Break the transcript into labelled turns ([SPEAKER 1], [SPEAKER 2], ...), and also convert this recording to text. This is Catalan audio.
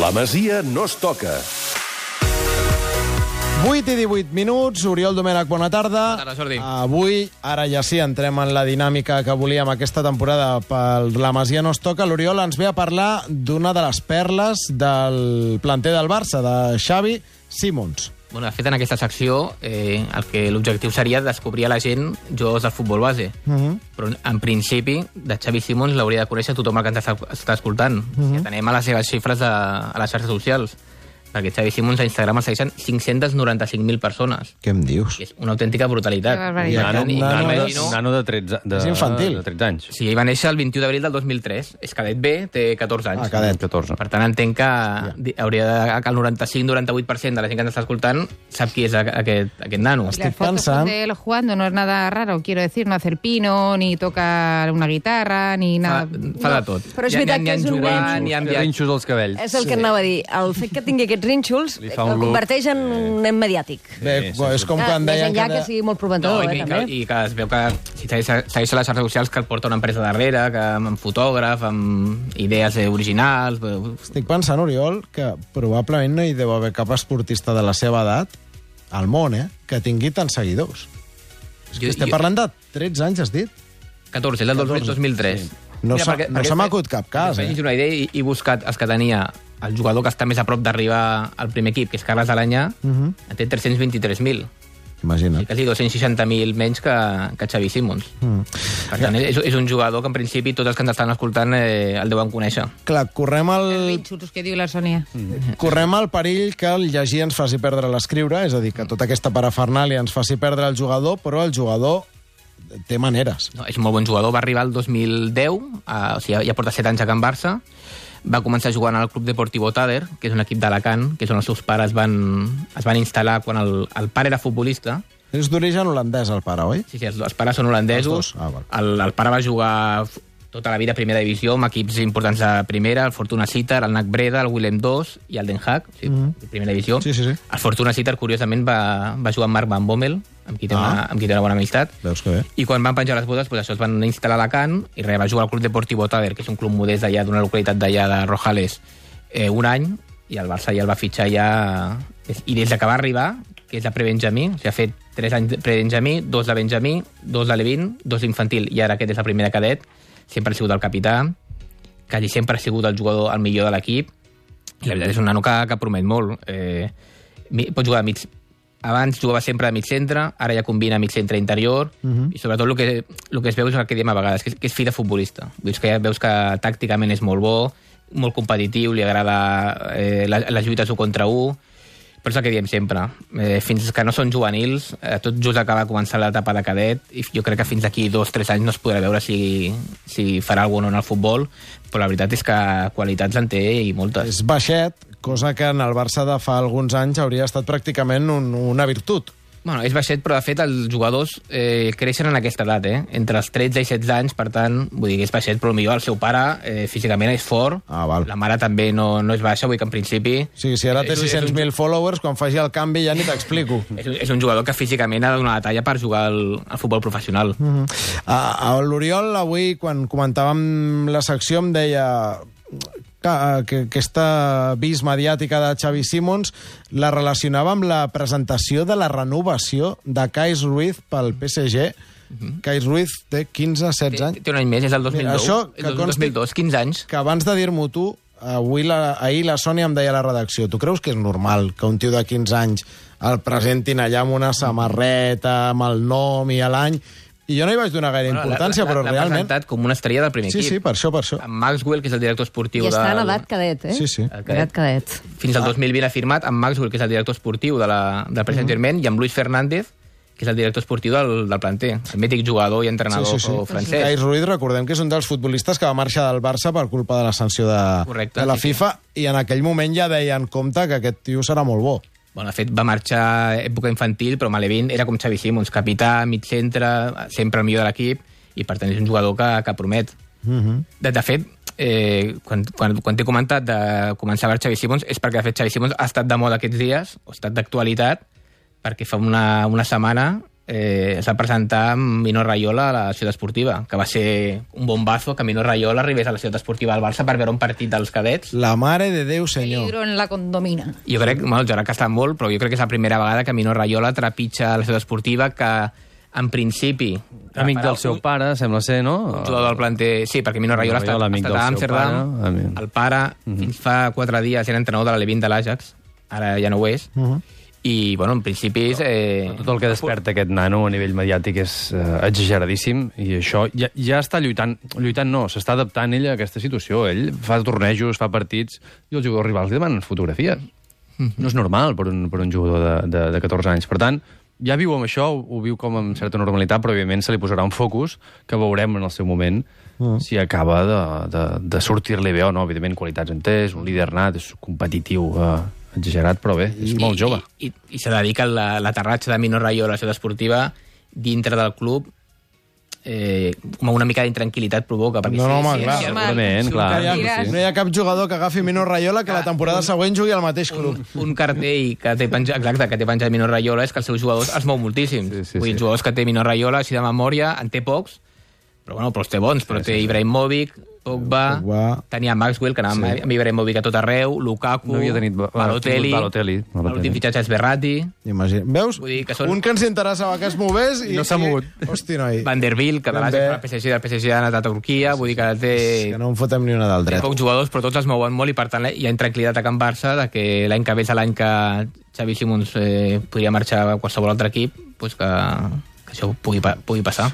[SPEAKER 1] La Masia no es toca.
[SPEAKER 2] 8 i 18 minuts, Oriol Domènech, bona tarda.
[SPEAKER 3] Bona tarda, Jordi.
[SPEAKER 2] Avui, ara ja sí, entrem en la dinàmica que volíem aquesta temporada pel La Masia no es toca. L'Oriol ens ve a parlar d'una de les perles del planter del Barça, de Xavi Simons.
[SPEAKER 3] Bueno, de fet, en aquesta secció eh, el que l'objectiu seria descobrir a la gent jugadors del futbol base. Uh -huh. Però, en principi, de Xavi Simons l'hauria de conèixer tothom el que ens està, està escoltant. Uh -huh. Si atenem a les seves xifres de, a les xarxes socials. Perquè Xavi Simons a Instagram el segueixen 595.000 persones.
[SPEAKER 2] Què em dius?
[SPEAKER 3] que És una autèntica brutalitat.
[SPEAKER 4] Que barbaritat.
[SPEAKER 2] Nano,
[SPEAKER 3] I- i-
[SPEAKER 2] nano
[SPEAKER 3] i-
[SPEAKER 2] de-
[SPEAKER 3] i- no?
[SPEAKER 5] nano de 13, de,
[SPEAKER 2] És infantil.
[SPEAKER 5] De 13 anys.
[SPEAKER 3] Sí, ell va néixer el 21 d'abril del 2003. És cadet B, té 14 anys.
[SPEAKER 2] Ah, cadet.
[SPEAKER 5] 14.
[SPEAKER 3] Per tant, entenc que, di- hauria de, que el 95-98% de la gent que ens està escoltant sap qui és a- aquest, aquest nano.
[SPEAKER 4] Las
[SPEAKER 2] Estoy
[SPEAKER 4] fotos
[SPEAKER 2] cansado.
[SPEAKER 4] de él jugando no es nada raro, quiero decir, no hace el pino, ni toca una guitarra, ni nada.
[SPEAKER 3] Fa, fa de
[SPEAKER 6] No,
[SPEAKER 3] tot.
[SPEAKER 6] però és
[SPEAKER 3] N'hi ha-
[SPEAKER 6] veritat
[SPEAKER 3] n'hi ha
[SPEAKER 6] que és un
[SPEAKER 3] jugant, n'hi ha
[SPEAKER 5] Té
[SPEAKER 3] enviat
[SPEAKER 5] Rinxos als cabells.
[SPEAKER 6] És el que anava a dir. El fet que tingui aquests rínxols
[SPEAKER 5] Li
[SPEAKER 6] el
[SPEAKER 5] fa un look,
[SPEAKER 6] converteix en un nen mediàtic.
[SPEAKER 2] Bé,
[SPEAKER 5] sí,
[SPEAKER 2] és com
[SPEAKER 6] Ah,
[SPEAKER 2] quan
[SPEAKER 6] més
[SPEAKER 2] deien...
[SPEAKER 6] enllà que,
[SPEAKER 2] de-
[SPEAKER 6] sigui molt
[SPEAKER 3] No,
[SPEAKER 6] prometedor,
[SPEAKER 3] i,
[SPEAKER 6] eh,
[SPEAKER 3] i, que,
[SPEAKER 6] també.
[SPEAKER 3] i que es veu que si segueix, segueix a les xarxes socials que el porta una empresa darrere, que amb fotògraf, amb idees eh, originals... Bé,
[SPEAKER 2] Estic pensant, Oriol, que probablement no hi deu haver cap esportista de la seva edat al món, eh?, que tingui tants seguidors.
[SPEAKER 3] Jo,
[SPEAKER 2] Estem
[SPEAKER 3] jo,
[SPEAKER 2] parlant de 13 anys, has dit?
[SPEAKER 3] 14, el del 2003.
[SPEAKER 2] No s'ha- no se m'ha acut
[SPEAKER 3] acut
[SPEAKER 2] cap cas, eh?
[SPEAKER 3] He una idea i he buscat els que tenia el jugador que està més a prop d'arribar al primer equip, que és Carles Alanyà, uh
[SPEAKER 2] Mhm. Ah.
[SPEAKER 3] -huh. té 323.000.
[SPEAKER 2] eh. Imagina't.
[SPEAKER 3] Sí, quasi 260.000 menys que, que Xavi Simons. Mm. Per tant, és, és un jugador que en principi tots els que ens estan escoltant eh, el deuen conèixer.
[SPEAKER 2] Clar, correm el,
[SPEAKER 4] Pinxutos que diu la Sònia.
[SPEAKER 2] Mm. correm el perill que el llegir ens faci perdre l'escriure, és a dir, que tota aquesta parafernàlia ens faci perdre el jugador, però el jugador té maneres.
[SPEAKER 3] No, és un molt bon jugador, va arribar el 2010, a, eh, o sigui, ja porta 7 anys a Can Barça, va començar jugant al Club Deportivo Tader, que és un equip d'Alacant, que és on els seus pares van, es van instal·lar quan el, el pare era futbolista.
[SPEAKER 2] És d'origen holandès, el pare, oi?
[SPEAKER 3] Sí, sí, els, els pares són holandesos.
[SPEAKER 2] Els dos, ah, val.
[SPEAKER 3] el, el pare va jugar f- tota la vida a primera divisió amb equips importants de primera, el Fortuna Sitter, el NAC Breda, el Willem II i el Den Haag, o sigui, primera divisió.
[SPEAKER 2] Mhm. Sí, sí, sí.
[SPEAKER 3] El Fortuna Sitter, curiosament, va, va jugar amb Marc Van Bommel, amb qui té, ah. una, amb qui té una bona amistat.
[SPEAKER 2] Veus que bé.
[SPEAKER 3] I quan van penjar les botes, doncs això es van instal·lar a Alacant i res, va jugar al Club Deportivo Taver, que és un club modest d'allà, d'una localitat d'allà de Rojales, eh, un any, i el Barça ja el va fitxar ja... I des de que va arribar, que és de prebenjamí, o sigui, ha fet 3 anys de prebenjamí, 2 de benjamí, 2 de Levin, 2 d'infantil, i ara aquest és el primer de cadet, sempre ha sigut el capità, quasi sempre ha sigut el jugador el millor de l'equip, i la veritat és un nano que, que promet molt. Eh, mi- pot jugar a mig... Abans jugava sempre a mig centre, ara ja combina mig centre interior, uh -huh. i sobretot el que, el que es veu és el que diem a vegades, que és, que és fi de futbolista. Veus que, ja veus que tàcticament és molt bo, molt competitiu, li agrada eh, la- les lluites 1 contra 1, però és el que diem sempre. Eh, fins que no són juvenils, eh, tot just acaba de començar l'etapa de cadet, i jo crec que fins d'aquí dos o tres anys no es podrà veure si, si farà alguna o no en el futbol, però la veritat és que qualitats en té i moltes.
[SPEAKER 2] És baixet, cosa que en el Barça de fa alguns anys hauria estat pràcticament un, una virtut.
[SPEAKER 3] Bueno, és baixet, però de fet els jugadors eh, creixen en aquesta edat, eh? Entre els 13 i 16 anys, per tant, vull dir que és baixet, però millor el seu pare eh, físicament és fort,
[SPEAKER 2] Ah, val.
[SPEAKER 3] la mare també no, no és baixa, vull dir que en principi...
[SPEAKER 2] O sigui, si ara té
[SPEAKER 3] És- és un-
[SPEAKER 2] 600.000 followers, quan faci el canvi ja ni t'explico.
[SPEAKER 3] És un, és un jugador que físicament ha de donar la talla per jugar al, al futbol professional. Mm
[SPEAKER 2] Mm-hmm.
[SPEAKER 3] -hmm.
[SPEAKER 2] A, a l'Oriol, avui, quan comentàvem la secció, em deia que, que aquesta vis mediàtica de Xavi Simons la relacionava amb la presentació de la renovació de Kais Ruiz pel PSG. Kais Ruiz té 15-16
[SPEAKER 3] Té,
[SPEAKER 2] anys.
[SPEAKER 3] té un any més, és el 2002.
[SPEAKER 2] Mira, això que
[SPEAKER 3] és el
[SPEAKER 2] consti-
[SPEAKER 3] 2002, 15 anys.
[SPEAKER 2] Que abans de dir-m'ho tu, avui la, ahir la Sònia em deia a la redacció, tu creus que és normal que un tio de 15 anys el presentin allà amb una samarreta, amb el nom i l'any... I jo no hi vaig donar gaire importància,
[SPEAKER 3] L'ha- l'ha-
[SPEAKER 2] però
[SPEAKER 3] l'ha
[SPEAKER 2] realment...
[SPEAKER 3] presentat com una estrella del primer
[SPEAKER 2] Sí,
[SPEAKER 3] equip.
[SPEAKER 2] sí, per això, per això.
[SPEAKER 3] Amb Maxwell, que és el director esportiu
[SPEAKER 6] I està
[SPEAKER 3] del...
[SPEAKER 6] en edat cadet, eh?
[SPEAKER 2] Sí, sí.
[SPEAKER 3] El cadet.
[SPEAKER 6] Edat cadet.
[SPEAKER 3] fins al 2020 ha firmat amb Maxwell, que és el director esportiu de la, del
[SPEAKER 2] Mhm.
[SPEAKER 3] Paris Saint-Germain, i amb Luis Fernández, que és el director esportiu del, del planter, el mític jugador i entrenador
[SPEAKER 2] Sí, sí, sí.
[SPEAKER 3] francès.
[SPEAKER 2] Cais Ruiz, recordem que és un dels futbolistes que va marxar del Barça per culpa de la sanció de,
[SPEAKER 3] Correcte,
[SPEAKER 2] de la
[SPEAKER 3] sí, sí.
[SPEAKER 2] FIFA, i en aquell moment ja deien, compte, que aquest tio serà molt bo.
[SPEAKER 3] Bueno, de fet, va marxar a època infantil, però Malevin era com Xavi Simons, capità, mig centre, sempre el millor de l'equip, i per tant és un jugador que, que promet.
[SPEAKER 2] Mm -hmm.
[SPEAKER 3] De, de fet, eh, quan, quan, quan t'he comentat de començar a veure Xavi Simons és perquè, de fet, Xavi Simons ha estat de moda aquests dies, o ha estat d'actualitat, perquè fa una, una setmana eh, es va presentar amb Mino Raiola a la ciutat esportiva, que va ser un bombazo que Mino Raiola arribés a la ciutat esportiva del Barça per veure un partit dels cadets
[SPEAKER 2] La mare de Déu, senyor.
[SPEAKER 4] Peligro en la condomina.
[SPEAKER 3] jo crec, bueno, el Gerard està molt, però jo crec que és la primera vegada que Mino Raiola trepitja la ciutat esportiva que, en principi...
[SPEAKER 5] Amic del seu pare, sembla ser, no?
[SPEAKER 3] Ah, Un jugador del planter... Sí, perquè Mino Raiola ha estat,
[SPEAKER 5] Raiola,
[SPEAKER 3] ha
[SPEAKER 5] amic
[SPEAKER 3] estat
[SPEAKER 5] del
[SPEAKER 3] a
[SPEAKER 5] seu
[SPEAKER 3] Amsterdam,
[SPEAKER 5] pare, amic. Mhm.
[SPEAKER 3] el pare, fins fa quatre dies era entrenador de la Levin de l'Àgex, ara ja no ho és,
[SPEAKER 2] Mhm.
[SPEAKER 3] i, bueno, en principi és... Eh,
[SPEAKER 5] Tot el que desperta aquest nano a nivell mediàtic és eh, exageradíssim i això ja, ja està lluitant, lluitant no, s'està adaptant ell a aquesta situació. Ell fa tornejos, fa partits i els jugadors rivals li demanen fotografies. No és normal per un, per un jugador de, de, de 14 anys. Per tant, ja viu amb això, ho, ho viu com amb certa normalitat, però òbviament se li posarà un focus que veurem en el seu moment si acaba de, de, de sortir-li bé o no. Evidentment, qualitats en té, és un líder nat, és competitiu, eh, exagerat, però bé, és molt jove.
[SPEAKER 3] I, i, i se dedica la- l'aterratge de Mino Raiola a la ciutat esportiva dintre del club eh, com una mica d'intranquil·litat provoca. Perquè
[SPEAKER 2] No,
[SPEAKER 3] si-
[SPEAKER 2] no, home,
[SPEAKER 3] si-
[SPEAKER 2] clar,
[SPEAKER 3] si el-
[SPEAKER 5] Segurament,
[SPEAKER 3] si un
[SPEAKER 5] clar.
[SPEAKER 3] tallà-
[SPEAKER 2] No hi ha- no hi ha cap jugador que agafi Mino Raiola que la temporada següent jugui al mateix club.
[SPEAKER 3] un cartell que té penjat, exacte, que té penjat Mino Raiola és que els seus jugadors els mou moltíssim.
[SPEAKER 5] Sí,
[SPEAKER 3] Sí,
[SPEAKER 5] sí,
[SPEAKER 3] sí, Vull dir,
[SPEAKER 5] sí.
[SPEAKER 3] els jugadors que té Mino Raiola, així de memòria, en té pocs, però, bueno, però els té bons, però sí, té sí, Ibrahimovic, Pogba,
[SPEAKER 2] Pogba.
[SPEAKER 3] tenia Maxwell, que anava sí. amb Ibrahimovic a tot arreu, Lukaku,
[SPEAKER 5] No havia tenit Ba-
[SPEAKER 3] Balotelli,
[SPEAKER 5] tingut Balotelli, Balotelli.
[SPEAKER 3] l'últim fitxatge és Berrati,
[SPEAKER 2] Imagina. Veus?
[SPEAKER 3] Vull dir que són-
[SPEAKER 2] Un que ens interessava que es movés i...
[SPEAKER 5] No s'ha mogut.
[SPEAKER 2] Hosti, noi.
[SPEAKER 3] Van der Biel, que de l'Ajax
[SPEAKER 2] També.
[SPEAKER 3] va al PSG, del PSG ha anat a Turquia, vull dir que té...
[SPEAKER 2] Que no en fotem ni una del
[SPEAKER 3] Té
[SPEAKER 2] dret.
[SPEAKER 3] pocs jugadors, però tots els mouen molt i, per tant, hi ha intranquil·litat a Can Barça de que l'any que ve és l'any que Xavi Simons eh, podria marxar a qualsevol altre equip, doncs que, que això pugui, pa- pugui passar.